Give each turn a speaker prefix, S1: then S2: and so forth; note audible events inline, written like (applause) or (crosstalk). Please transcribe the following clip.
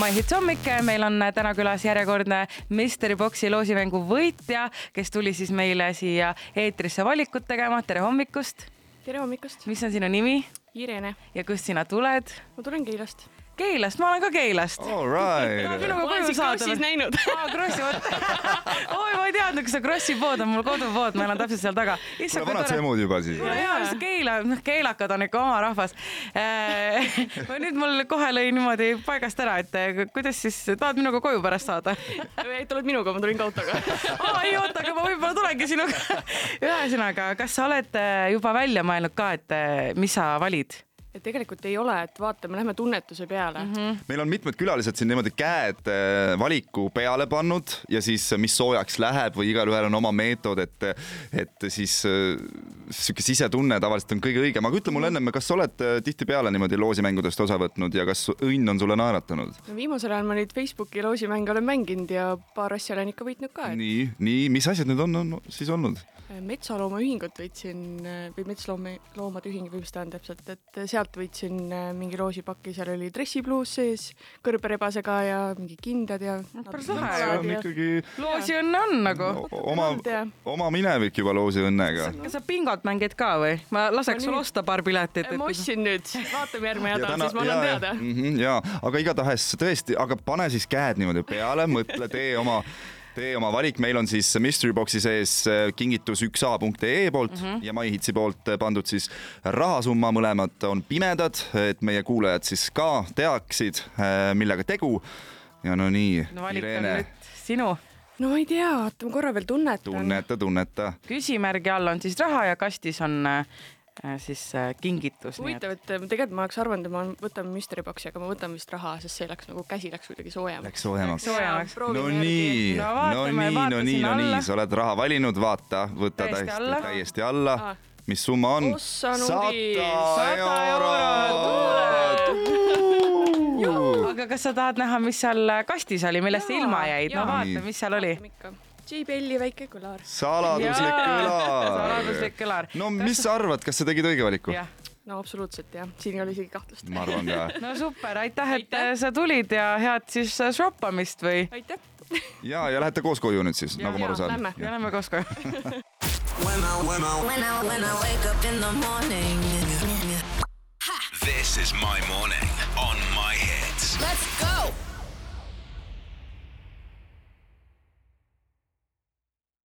S1: Maihits hommike, meil on täna külas järjekordne Mystery Boxi loosimängu võitja, kes tuli siis meile siia eetrisse valikut tegema. tere hommikust!
S2: tere hommikust ,
S1: mis on sinu nimi
S2: Irene ,
S1: ja kust sina tuled?
S2: ma tulen Keilast .
S1: Keilast , ma olen ka Keilast .
S3: All right .
S1: minuga koju saada või ?
S2: näinud . (laughs)
S1: aa , Krossi , vot . oi , ma ei teadnud , kas see Krossi pood on mul kodupood , ma elan täpselt seal taga .
S3: kuule , vanad sa emud juba siis
S1: no
S3: või ?
S1: jaa , mis keila , noh keelakad on ikka oma rahvas . (laughs) nüüd mul kohe lõi niimoodi paigast ära , et eh, kuidas siis tahad minuga koju pärast saada ?
S2: ei tulnud minuga , ma tulin ka autoga . (laughs)
S1: aa ei oota , aga ma võib-olla tulengi sinuga . (laughs) ühesõnaga , kas sa oled eh, juba välja mõelnud ka , et eh, mis sa valid ?
S2: et tegelikult ei ole , et vaatame , lähme tunnetuse peale mm . -hmm.
S3: meil on mitmed külalised siin niimoodi käed äh, valiku peale pannud ja siis , mis soojaks läheb või igalühel on oma meetod , et , et siis äh, sihuke sisetunne tavaliselt on kõige õigem , aga ütle mulle ennem , kas sa oled äh, tihtipeale niimoodi loosimängudest osa võtnud ja kas su õnn on sulle naeratanud ?
S2: no viimasel ajal ma neid Facebooki loosimänge olen mänginud ja paar asja olen ikka võitnud ka .
S3: nii , nii , mis asjad need on, on siis olnud ?
S2: metsaloomaühingut võitsin äh, või metsloome , loomade ühing või mis ta on täpselt , et äh, sealt võitsin äh, mingi loosipaki , seal oli dressipluus sees kõrberebasega ja mingi kindad ja .
S1: päris lahe
S3: see on ikkagi
S1: loosiõnne on nagu .
S3: o- oma
S2: olnud, jah. ,
S3: oma minevik juba loosiõnnega .
S1: kas sa bingot mängid ka või ? ma laseks sul
S2: nüüd-
S1: osta paar piletit .
S2: Äh, ma ostsin nüüd , vaatame järgmine
S3: ja
S2: nädal ,
S3: täna-
S2: siis ma annan
S3: jaa,
S2: teada
S3: jaa. . Mhm, jaa , aga igatahes tõesti , aga pane siis käed niimoodi peale , mõtle , tee oma , tee oma valik , meil on siis mystery box'i sees äh, kingitus 1a.ee poolt mm
S1: Mhm.
S3: -hmm. ja MyHitsi poolt äh, pandud siis rahasumma , mõlemad on pimedad , et meie kuulajad siis ka teaksid , millega tegu . ja no nii ,
S1: no valik on
S3: Irene ,
S1: nüüd sinu .
S2: no ma ei tea , oota ma korra veel tunnetan .
S3: tunneta , tunneta .
S1: küsimärgi all on siis raha ja kastis on äh, siis äh, kingitus .
S2: huvitav , et ähm, tegelikult ma oleks arvanud , et ma võtan mystery box'i , aga ma võtan vist raha , sest see läks nagu käsi läks kuidagi soojemaks .
S3: Läks soojemaks .
S1: soojemaks.
S3: no nii ,
S1: No
S3: no
S1: vaatame,
S3: nii ,
S1: vaata
S3: no nii ,
S1: sinna
S3: no
S1: alla.
S3: nii , sa oled raha valinud , vaata , võta
S1: Täiesti
S3: täiesti
S1: alla. Ah.
S3: alla, täiesti alla.
S2: Aa. .
S3: mis summa on ?
S2: Ossa nudi.
S1: Sada
S3: eurot .
S1: aga kas sa tahad näha , mis seal äh, kastis oli , millest sa
S2: Jaa,
S1: ilma jäid ? no
S2: jaa.
S1: vaata
S3: Nii. ,
S1: mis seal oli .
S2: J Belli väike kõlar .
S3: saladuslik
S1: Jaa,
S3: kõlar .
S1: saladuslik kõlar.
S3: no mis sa arvad , kas sa tegid õige valiku ?
S1: jah ,
S2: no absoluutselt jah , siin ei ole isegi kahtlust .
S3: ma arvan ka .
S1: no super , aitäh , et äh,
S2: Aitäh.
S1: sa tulid ja head siis äh, shoppamist või ?
S2: aitäh .
S3: ja , ja lähete koos koju nüüd siis , nagu ma aru
S2: jaa, lähme.
S3: saan
S1: me . oleme koos koju .
S4: When I, when I,
S5: When I when I wake up in the morning.
S6: This is my morning on my hits.
S5: Let's go.